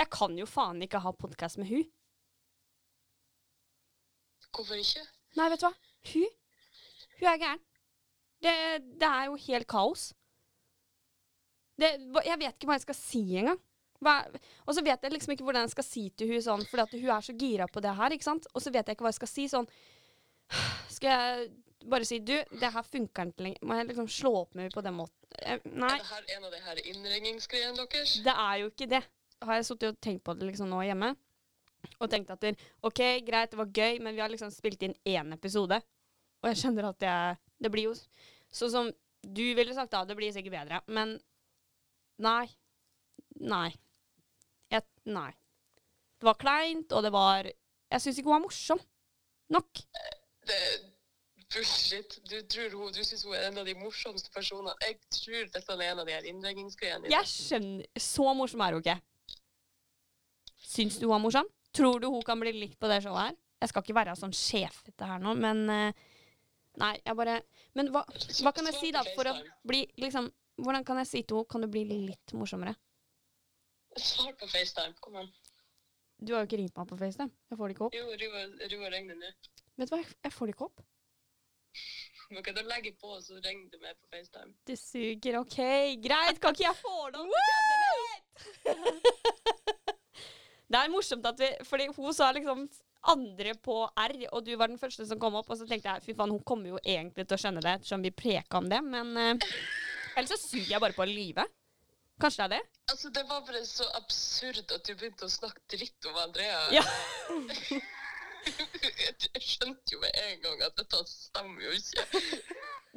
Speaker 1: Jeg kan jo faen ikke ha podkast med hun.
Speaker 5: Hvorfor ikke?
Speaker 1: Nei, vet du hva? Hun Hun er gæren. Det, det er jo helt kaos. Det, hva- jeg vet ikke hva jeg skal si engang. Hva- Og så vet jeg liksom ikke hvordan jeg skal si til hun sånn, fordi at hun er så gira på det her. ikke sant? Og så vet jeg ikke hva jeg skal si sånn. Skal jeg bare si du, det her funker ikke lenger. Må jeg liksom slå opp med henne på den måten? Jeg- Nei.
Speaker 5: Er det her en av de her innringingsgreiene deres?
Speaker 1: Det er jo ikke det. Har jeg sittet og tenkt på det liksom nå hjemme. Og tenkt at det- OK, greit, det var gøy, men vi har liksom spilt inn én episode. Og jeg skjønner at jeg Det blir jo s- sånn som du ville sagt da, det blir sikkert bedre. Men nei. Nei. Jeg, nei. Det var kleint, og det var Jeg syns ikke hun var morsom nok.
Speaker 5: Det er bullshit. Du tror hun, du synes hun er en av de morsomste personene. Jeg tror dette er en av de her innringingsgreiene. dine.
Speaker 1: Jeg skjønner Så morsom er hun ikke. Syns du hun er morsom? Tror du hun kan bli likt på det showet her? Jeg skal ikke være sånn sjefete her nå, men eh, Nei, jeg bare Men hva, hva kan jeg si, da, for å bli liksom Hvordan kan jeg si til henne Kan du bli litt morsommere?
Speaker 5: Svar på FaceTime. Kom an.
Speaker 1: Du har jo ikke ringt meg på FaceTime. Jeg får det ikke opp.
Speaker 5: Jo, Roar regner nå.
Speaker 1: Vet du hva, jeg får det ikke opp.
Speaker 5: Men kan du legge på, så regner det med på FaceTime.
Speaker 1: Det suger. OK, greit. Kan ikke jeg få det opp? Det er morsomt at vi Fordi hun sa liksom andre på R, og du var den første som kom opp. Og så tenkte jeg fy faen, hun kommer jo egentlig til å skjønne det, ettersom vi preka om det. Men eh, ellers så suger jeg bare på å lyve. Kanskje det er det?
Speaker 5: Altså, det var bare så absurd at du begynte å snakke dritt om Andrea.
Speaker 1: Ja.
Speaker 5: jeg skjønte jo med en gang at dette stemmer jo ikke.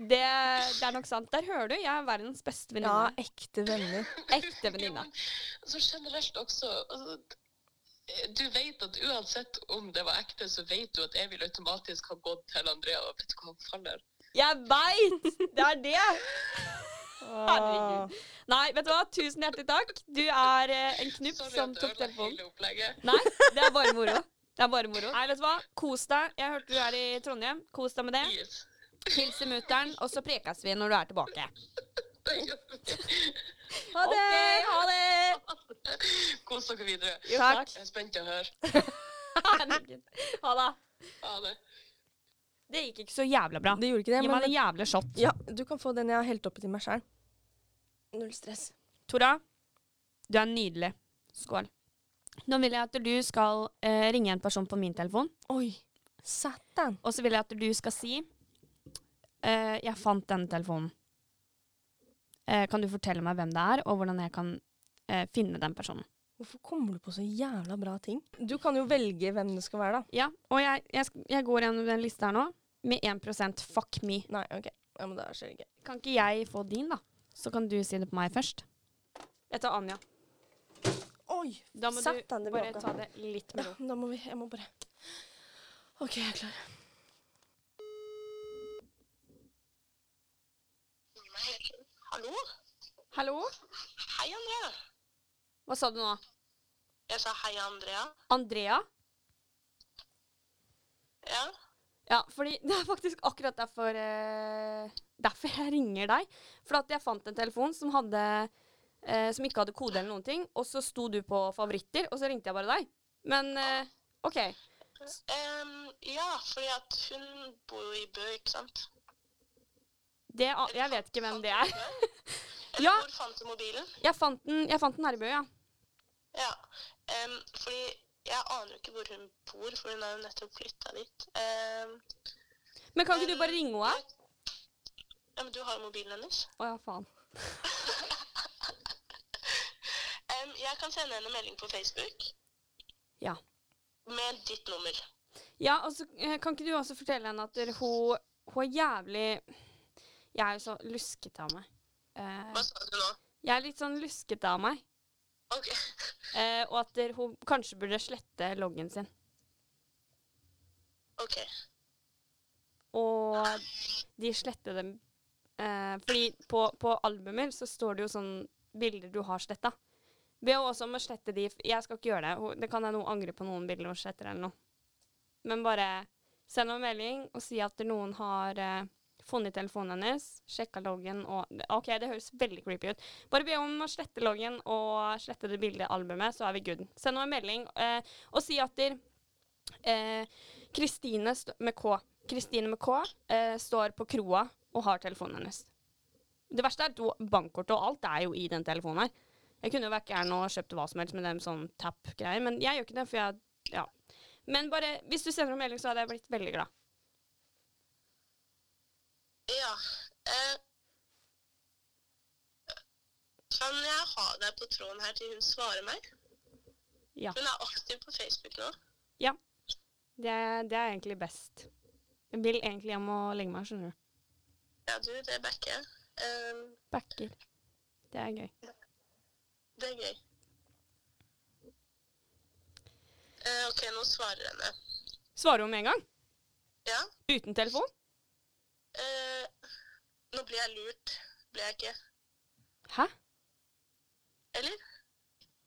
Speaker 1: Det, det er nok sant. Der hører du. Jeg er verdens beste
Speaker 2: Ja,
Speaker 1: venninne.
Speaker 2: ekte venner.
Speaker 1: Ekte venninne.
Speaker 5: Så generelt også altså, Du vet at uansett om det var ekte, så vet du at jeg vil automatisk ha gått til Andrea og vet du hva han faller.
Speaker 1: Jeg veit! Det er det! Herregud.
Speaker 2: Åh.
Speaker 1: Nei, vet du hva? Tusen hjertelig takk. Du er eh, en knupp
Speaker 5: Sorry
Speaker 1: som
Speaker 5: at jeg
Speaker 1: tok
Speaker 5: ødela
Speaker 1: telefonen.
Speaker 5: hele opplegget.
Speaker 1: Nei, det er bare moro. Det er bare moro. Nei, vet du hva? Kos deg. Jeg hørte du er i Trondheim. Kos deg med det.
Speaker 5: Yes.
Speaker 1: Hilse mutter'n, og så prekes vi når du er tilbake. Ha
Speaker 2: det!
Speaker 1: ha det!
Speaker 5: Kos dere videre.
Speaker 1: Takk.
Speaker 5: Jeg er spent til å høre.
Speaker 1: Herregud. Ha det.
Speaker 5: Ha det.
Speaker 1: Det gikk ikke så jævla bra.
Speaker 2: Det gjorde ikke det,
Speaker 1: Gi meg
Speaker 2: men
Speaker 1: en jævla shot.
Speaker 2: ja, du kan få den jeg har helt oppi til meg sjøl. Null stress.
Speaker 1: Tora, du er nydelig. Skål. Nå vil jeg at du skal eh, ringe en person på min telefon,
Speaker 2: Oi, satan.
Speaker 1: og så vil jeg at du skal si eh, 'Jeg fant denne telefonen'. Eh, kan du fortelle meg hvem det er, og hvordan jeg kan eh, finne den personen?
Speaker 2: Hvorfor kommer du på så jævla bra ting? Du kan jo velge hvem det skal være, da.
Speaker 1: Ja, og jeg, jeg, sk- jeg går gjennom den lista her nå med 1 fuck me.
Speaker 2: Nei, OK. Ja, men da skjer det ikke.
Speaker 1: Kan ikke jeg få din, da? Så kan du si det på meg først. Jeg tar Anja.
Speaker 2: Oi,
Speaker 1: Da må
Speaker 2: satan,
Speaker 1: du
Speaker 2: det
Speaker 1: bare
Speaker 2: bråka.
Speaker 1: ta det litt med
Speaker 2: Ja,
Speaker 1: ro.
Speaker 2: da må vi Jeg må bare OK, jeg er klar.
Speaker 5: Hallo?
Speaker 1: Hallo?
Speaker 5: Hei, Andrea.
Speaker 1: Hva sa du nå?
Speaker 5: Jeg sa hei, Andrea.
Speaker 1: Andrea?
Speaker 5: Ja.
Speaker 1: Ja, fordi det er faktisk akkurat derfor eh, Derfor jeg ringer deg. For at jeg fant en telefon som hadde eh, Som ikke hadde kode eller noen ting, og så sto du på favoritter, og så ringte jeg bare deg. Men eh, OK.
Speaker 5: Ehm, ja, fordi at hun bor jo i Bø, ikke sant?
Speaker 1: Det, a- jeg vet ikke hvem det er.
Speaker 5: Eller
Speaker 1: Ja.
Speaker 5: hvor fant du mobilen?
Speaker 1: Jeg fant den, jeg fant den her i Bø, ja.
Speaker 5: Ja. Ehm, fordi jeg aner jo ikke hvor hun bor, for hun har jo nettopp flytta dit. Ehm,
Speaker 1: Men kan ikke du bare ringe henne?
Speaker 5: ja, men du har jo mobilen hennes.
Speaker 1: Å ja, faen.
Speaker 5: Ehm, jeg kan sende henne en melding på Facebook.
Speaker 1: Ja.
Speaker 5: Med ditt nummer.
Speaker 1: Ja, og så eh, kan ikke du også fortelle henne at dere- hun, hun er jævlig Jeg er jo så luskete av meg. Eh,
Speaker 5: Hva sa du nå?
Speaker 1: jeg er litt sånn luskete av meg.
Speaker 5: Å OK.
Speaker 1: Eh, og at der, hun kanskje burde slette loggen sin.
Speaker 5: ok.
Speaker 1: Og de sletter dem. Eh, fordi på, på albumer så står det jo sånn bilder du har sletta. Be henne også om å slette de. Jeg skal ikke gjøre det. Hun- Det kan hende hun angrer på noen bilder hun sletter eller noe. Men bare send henne en melding og si at noen har eh, funnet telefonen hennes, sjekka loggen og OK, det høres veldig creepy ut. Bare be henne om å slette loggen og slette det bildet i albumet, så er vi good. Send henne en melding eh, og si at der, eh, Kristine st- med K. Kristine med K eh, står på kroa og har telefonen hennes. Det verste er at hun- bankkortet og alt er jo i den telefonen her. Jeg kunne jo vært gæren og kjøpt hva som helst med dem sånn tap-greier, men jeg gjør ikke det, for jeg Ja. Men bare hvis du sender en melding, så hadde jeg blitt veldig glad.
Speaker 5: Ja. Eh, kan jeg ha deg på tråden her til hun svarer meg?
Speaker 1: Ja.
Speaker 5: Hun er aktiv på Facebook nå.
Speaker 1: Det, det er egentlig best. Jeg vil egentlig hjem og legge meg, skjønner du.
Speaker 5: Ja, du, det backer jeg. Eh,
Speaker 1: Backer. Det er gøy.
Speaker 5: det er gøy. Eh, ok, nå svarer henne.
Speaker 1: Svarer hun med en gang?
Speaker 5: Ja.
Speaker 1: Uten telefon?
Speaker 5: Eh, nå blir jeg lurt. Blir jeg ikke?
Speaker 1: Hæ?
Speaker 5: Eller?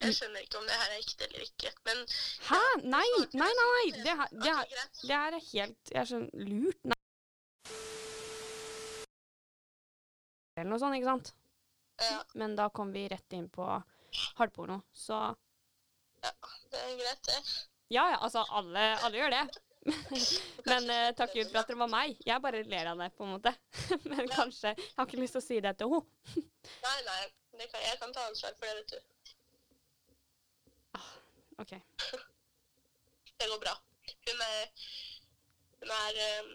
Speaker 5: Jeg skjønner ikke om det her er ekte eller ikke. Men
Speaker 1: Hæ? Nei, nei, nei. nei. Det, her- det, her-
Speaker 5: Ok, greit.
Speaker 1: det her er helt Jeg er sånn lurt. Nei. Eller noe sånt, ikke sant?
Speaker 5: Ja,
Speaker 1: Men da kom vi rett inn på hardporno. Så
Speaker 5: det er greit, det.
Speaker 1: ja, ja, altså alle, alle gjør det. Men eh, takk Gud for at det var meg. Jeg bare ler av det, på en måte. Men kanskje Jeg har ikke lyst til å si det til henne.
Speaker 5: Nei, nei. Det kan, jeg kan ta ansvar for det, vet du.
Speaker 1: OK.
Speaker 5: Det går bra. Hun er, hun er, ehm,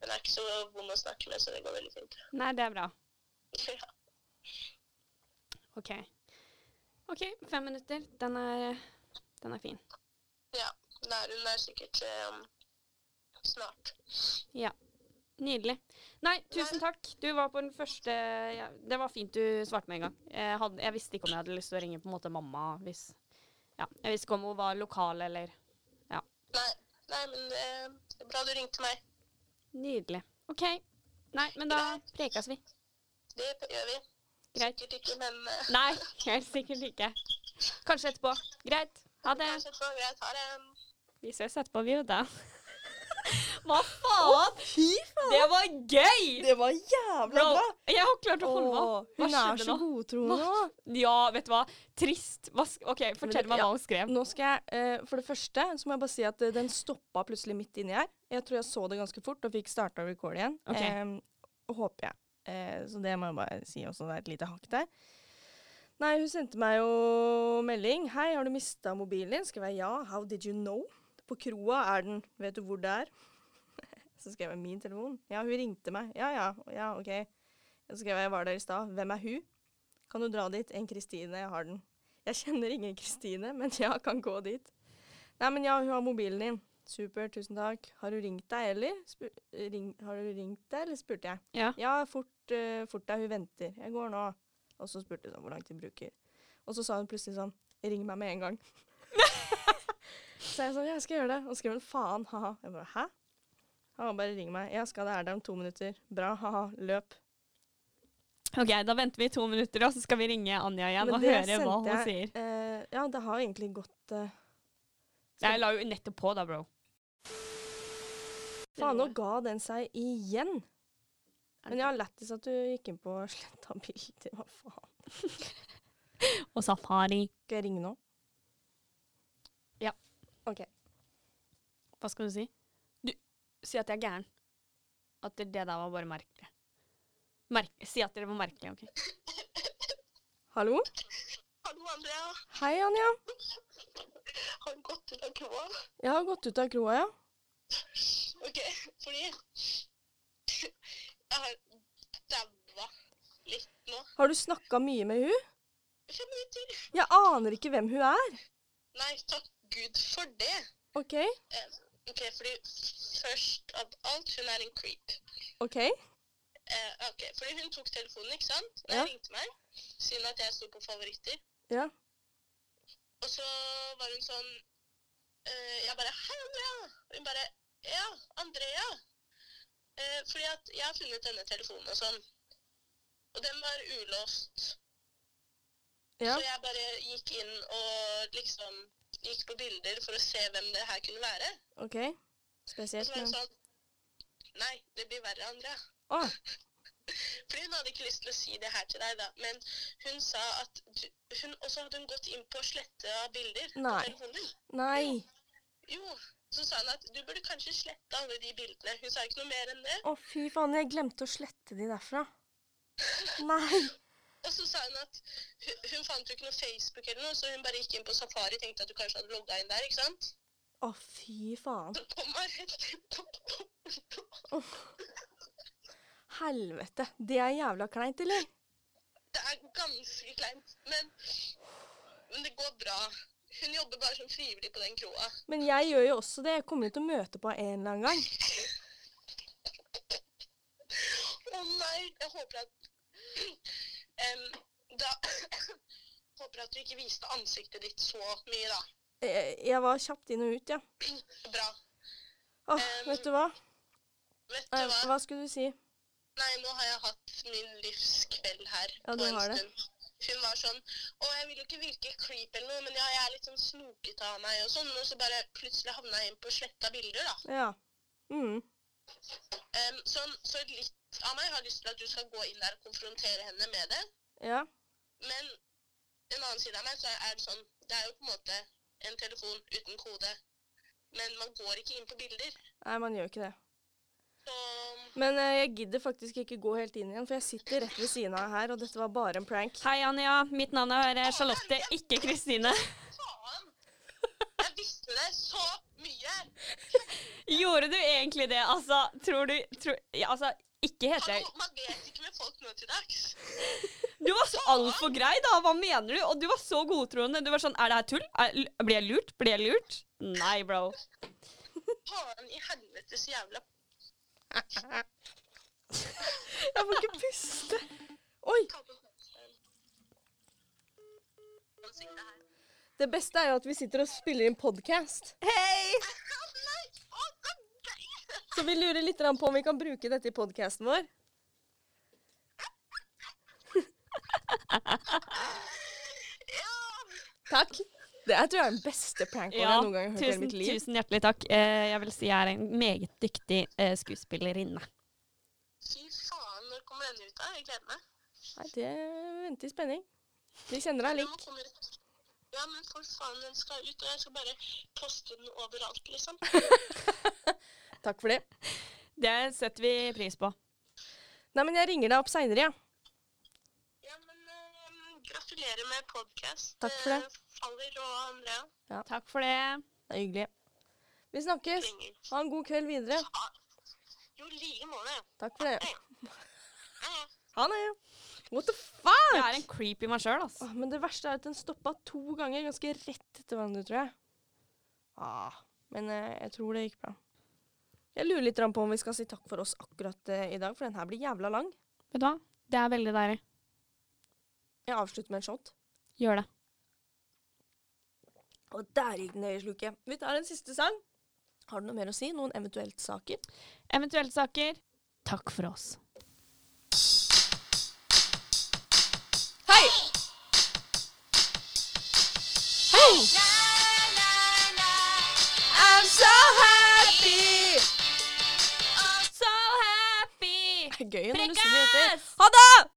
Speaker 5: hun er ikke så vond å snakke med, så det går veldig fint.
Speaker 1: Nei, det er bra.
Speaker 5: Ja.
Speaker 1: OK. OK, fem minutter. Den er, den er fin.
Speaker 5: Nei, hun er sikkert ehm, snart.
Speaker 1: Nydelig. Nei, tusen takk. Du var på den første ja, Det var fint du svarte med en gang. Jeg, hadde, jeg visste ikke om jeg hadde lyst til å ringe på en måte mamma hvis Ja, jeg visste ikke om hun var lokal eller
Speaker 5: Nei, nei men det det er bra du ringte meg.
Speaker 1: Nydelig. OK. Nei, men da prekes vi.
Speaker 5: Det gjør vi.
Speaker 1: Greit.
Speaker 5: Sikkert ikke, men eh,
Speaker 1: Nei, helt sikkert ikke. Kanskje etterpå. Greit. Ha det.
Speaker 5: kanskje etterpå. Greit, ha det.
Speaker 1: Vi ses etterpå, vi, da. Hva faen? Det var gøy!
Speaker 2: Det var jævla
Speaker 1: Bro,
Speaker 2: bra!
Speaker 1: jeg har klart å holde meg.
Speaker 2: Åh,
Speaker 1: Hva
Speaker 2: hun er
Speaker 1: skjedde
Speaker 2: så
Speaker 1: nå?
Speaker 2: godtroende. nå.
Speaker 1: Ja, vet du hva? Trist. Hva sk OK, fortell meg hva hun skrev.
Speaker 2: Nå skal jeg, eh, For det første så må jeg bare si at eh, den stoppa plutselig midt inni her. Jeg tror jeg så det ganske fort og fikk starta record igjen.
Speaker 1: Ok.
Speaker 2: Eh, håper jeg. Eh, så det må jeg bare si også. Det er et lite hakk der. Nei, hun sendte meg jo melding. 'Hei, har du mista mobilen din?' Skrev jeg ja. 'How did you know?' På kroa er den. Vet du hvor det er? Så skrev jeg 'min telefon'. Ja, hun ringte meg. Ja, ja, ja, ok. Så skrev jeg 'jeg var der i stad'. Hvem er hun? Kan du dra dit? En Kristine, jeg har den. Jeg kjenner ingen Kristine, men ja, kan gå dit. Nei, men ja, hun har mobilen din. Supert, tusen takk. Har du ringt deg, eller? Spur, ring, har du ringt deg, eller spurte jeg.
Speaker 1: Ja.
Speaker 2: fort, eh, fort deg, hun venter. Jeg går nå. Og så spurte hun sånn, hvor lang tid bruker. Og så sa hun plutselig sånn, ring meg med en gang. så jeg sånn, ja, jeg skal gjøre det. Og så skrev hun, faen, haha. Jeg bare, hæ? Han bare ring meg. Jeg skal det er der om to minutter. Bra, haha, løp.
Speaker 1: OK, da venter vi to minutter, og så skal vi ringe Anja igjen
Speaker 2: Men
Speaker 1: og
Speaker 2: det
Speaker 1: høre hva hun
Speaker 2: sendte jeg,
Speaker 1: sier.
Speaker 2: eh, ja, det har egentlig gått... eh,
Speaker 1: Jeg la jo nettopp på, da, bro.
Speaker 2: Faen, nå ga den seg igjen. Men jeg har lættis at du gikk inn på og sletta bilder. Hva faen?
Speaker 1: Og safari.
Speaker 2: Skal jeg ringe nå?
Speaker 1: Ja.
Speaker 2: OK.
Speaker 1: Hva skal du si? Du, Si at jeg er gæren. At det det der var bare merkelig. Merk, si at dere var merkelige, OK?
Speaker 2: Hallo?
Speaker 5: Hallo, Andrea.
Speaker 2: Hei, Anja.
Speaker 5: Har hun gått ut av kroa?
Speaker 2: Jeg har gått ut av kloa, ja.
Speaker 5: OK, fordi Jeg har daua litt nå.
Speaker 2: Har du snakka mye med hun?
Speaker 5: Fem minutter.
Speaker 2: Jeg aner ikke hvem hun er.
Speaker 5: Nei, takk Gud for det.
Speaker 2: OK?
Speaker 5: Eh, OK, fordi først av alt, hun er en creep.
Speaker 2: OK?
Speaker 5: Eh, ok, fordi hun tok telefonen, ikke sant? Når
Speaker 2: Ja.
Speaker 5: Hun ringte meg, siden at jeg sto på favoritter.
Speaker 2: Ja.
Speaker 4: Og så var hun sånn eh, Jeg bare 'Hei, Andrea.' Hun bare 'Ja, Andrea.' Eh, fordi at jeg har funnet denne telefonen og sånn. Og den var ulåst.
Speaker 2: Ja.
Speaker 4: Så jeg bare gikk inn og liksom gikk på bilder for å se hvem det her kunne være.
Speaker 2: OK.
Speaker 4: Og
Speaker 2: Spesielt,
Speaker 4: så var hun
Speaker 2: men
Speaker 4: sånn Nei, det blir verre, Andrea.
Speaker 2: Å!
Speaker 4: Fordi hun hadde ikke lyst til å si det her til deg, da. Men hun sa at du, hun, Og så hadde hun gått inn på å slette av bilder
Speaker 2: Nei.
Speaker 4: på telefonen.
Speaker 2: Nei!
Speaker 4: Jo. Så sa hun at du burde kanskje slette alle de bildene. Hun sa ikke noe mer enn det.
Speaker 2: Å, fy faen, jeg glemte å slette de derfra. Nei!
Speaker 4: Og så sa hun at hun, hun fant jo ikke noe Facebook eller noe, så hun bare gikk inn på Safari tenkte at du kanskje hadde logga inn der, ikke sant?
Speaker 2: Å, fy faen.
Speaker 4: Så kom hun rett inn på
Speaker 2: Helvete. Det er jævla kleint, eller?
Speaker 4: Det er ganske kleint. Men, men det går bra. Hun jobber bare som frivillig på den kroa.
Speaker 2: Men jeg gjør jo også det. Jeg kommer jo til å møte på en eller annen gang.
Speaker 4: Å nei, jeg håper at Em, Da håper at du ikke viste ansiktet ditt så mye, da.
Speaker 2: Jeg, jeg var kjapt inn og ut, ja.
Speaker 4: Bra.
Speaker 2: Åh, vet du hva?
Speaker 4: Vet du
Speaker 2: Eh,
Speaker 4: hva?
Speaker 2: Hva skulle du si?
Speaker 4: Nei, nå har jeg hatt min livskveld her
Speaker 2: Ja, du
Speaker 4: på en
Speaker 2: har det.
Speaker 4: stund. Hun var sånn Å, jeg vil jo ikke virke creep eller noe, men ja, jeg er litt sånn snokete av meg og sånn. Og så bare plutselig havna jeg inn på sletta bilder, da.
Speaker 2: Ja. Mm.
Speaker 4: Em, sånn, så litt av meg har lyst til at du skal gå inn der og konfrontere henne med det.
Speaker 2: Ja.
Speaker 4: Men en annen side av meg så er det sånn Det er jo på en måte en telefon uten kode. Men man går ikke inn på bilder.
Speaker 2: Nei, man gjør ikke det.
Speaker 4: Så
Speaker 2: Men eh, jeg gidder faktisk ikke gå helt inn igjen, for jeg sitter rett ved siden av her, og dette var bare en prank.
Speaker 1: Hei, Anja. Mitt navn er eh, Charlotte, ikke Kristine.
Speaker 4: faen! Jeg visste det så mye!
Speaker 1: Gjorde du egentlig det? Altså, tror du tror, ja, Altså, ikke heter jeg
Speaker 4: Hallo, man vet ikke med folk nå til dags.
Speaker 1: Du var så altfor grei, da! Hva mener du? Og du var så godtroende. Du var sånn Er det her tull? Er, l- blir jeg lurt? Blir jeg lurt? Nei, bro.
Speaker 4: Faen i helvetes jævla
Speaker 2: Jeg får ikke puste. Oi!
Speaker 4: ansikt her.
Speaker 2: Det beste er jo at vi sitter og spiller inn podkast.
Speaker 1: Hei!
Speaker 4: Å nei! Å, det er deg!
Speaker 2: Så vi lurer litt grann på om vi kan bruke dette i podkasten vår. Takk. Det her tror jeg er den beste pranken
Speaker 1: Ja,
Speaker 2: jeg noen gang har hørt i hele
Speaker 1: tusen,
Speaker 2: mitt liv.
Speaker 1: tusen hjertelig takk. Eh, jeg vil si jeg er en meget dyktig eh, skuespillerinne.
Speaker 4: Fy faen, når kommer den ut? da? Jeg gleder meg.
Speaker 2: Nei, det venter i spenning. Vi kjenner deg
Speaker 4: Den må
Speaker 2: lik.
Speaker 4: komme ut. Ja, men for faen, den skal ut, og jeg skal bare poste den overalt, liksom.
Speaker 2: Takk for det.
Speaker 1: Det setter vi pris på.
Speaker 2: Nei, men jeg ringer deg opp seinere, jeg.
Speaker 4: Ja, men eh, gratulerer med podcast.
Speaker 2: Takk for det.
Speaker 4: eh, Faller og Andrea.
Speaker 1: Takk for det.
Speaker 2: Ja. Det er hyggelig. Vi snakkes.
Speaker 4: Klinger.
Speaker 2: Ha en god kveld videre.
Speaker 4: Jo, i like måte.
Speaker 2: Takk for det.
Speaker 4: Ja, ja.
Speaker 2: Ha det. What the fuck?
Speaker 1: Jeg er en creep i meg sjøl, altså.
Speaker 2: Åh, men det verste er at den stoppa to ganger, ganske rett etter hverandre, tror jeg. Ah, men eh, jeg tror det gikk bra. Jeg lurer litt grann på om vi skal si takk for oss akkurat eh, i dag, for den her blir jævla lang.
Speaker 1: Vet du hva? Det er veldig deilig.
Speaker 2: Jeg avslutter med en shot.
Speaker 1: Gjør det.
Speaker 2: Og der gikk den ned i sluket. Vi tar en siste sang. Har du noe mer å si? Noen eventuelt saker?
Speaker 1: Eventuelle saker. Takk for oss.
Speaker 2: Hei! Hei! I'm so happy!
Speaker 1: So happy!
Speaker 2: Det er gøy når du synger dette.
Speaker 1: Prekkas!
Speaker 2: Ha det!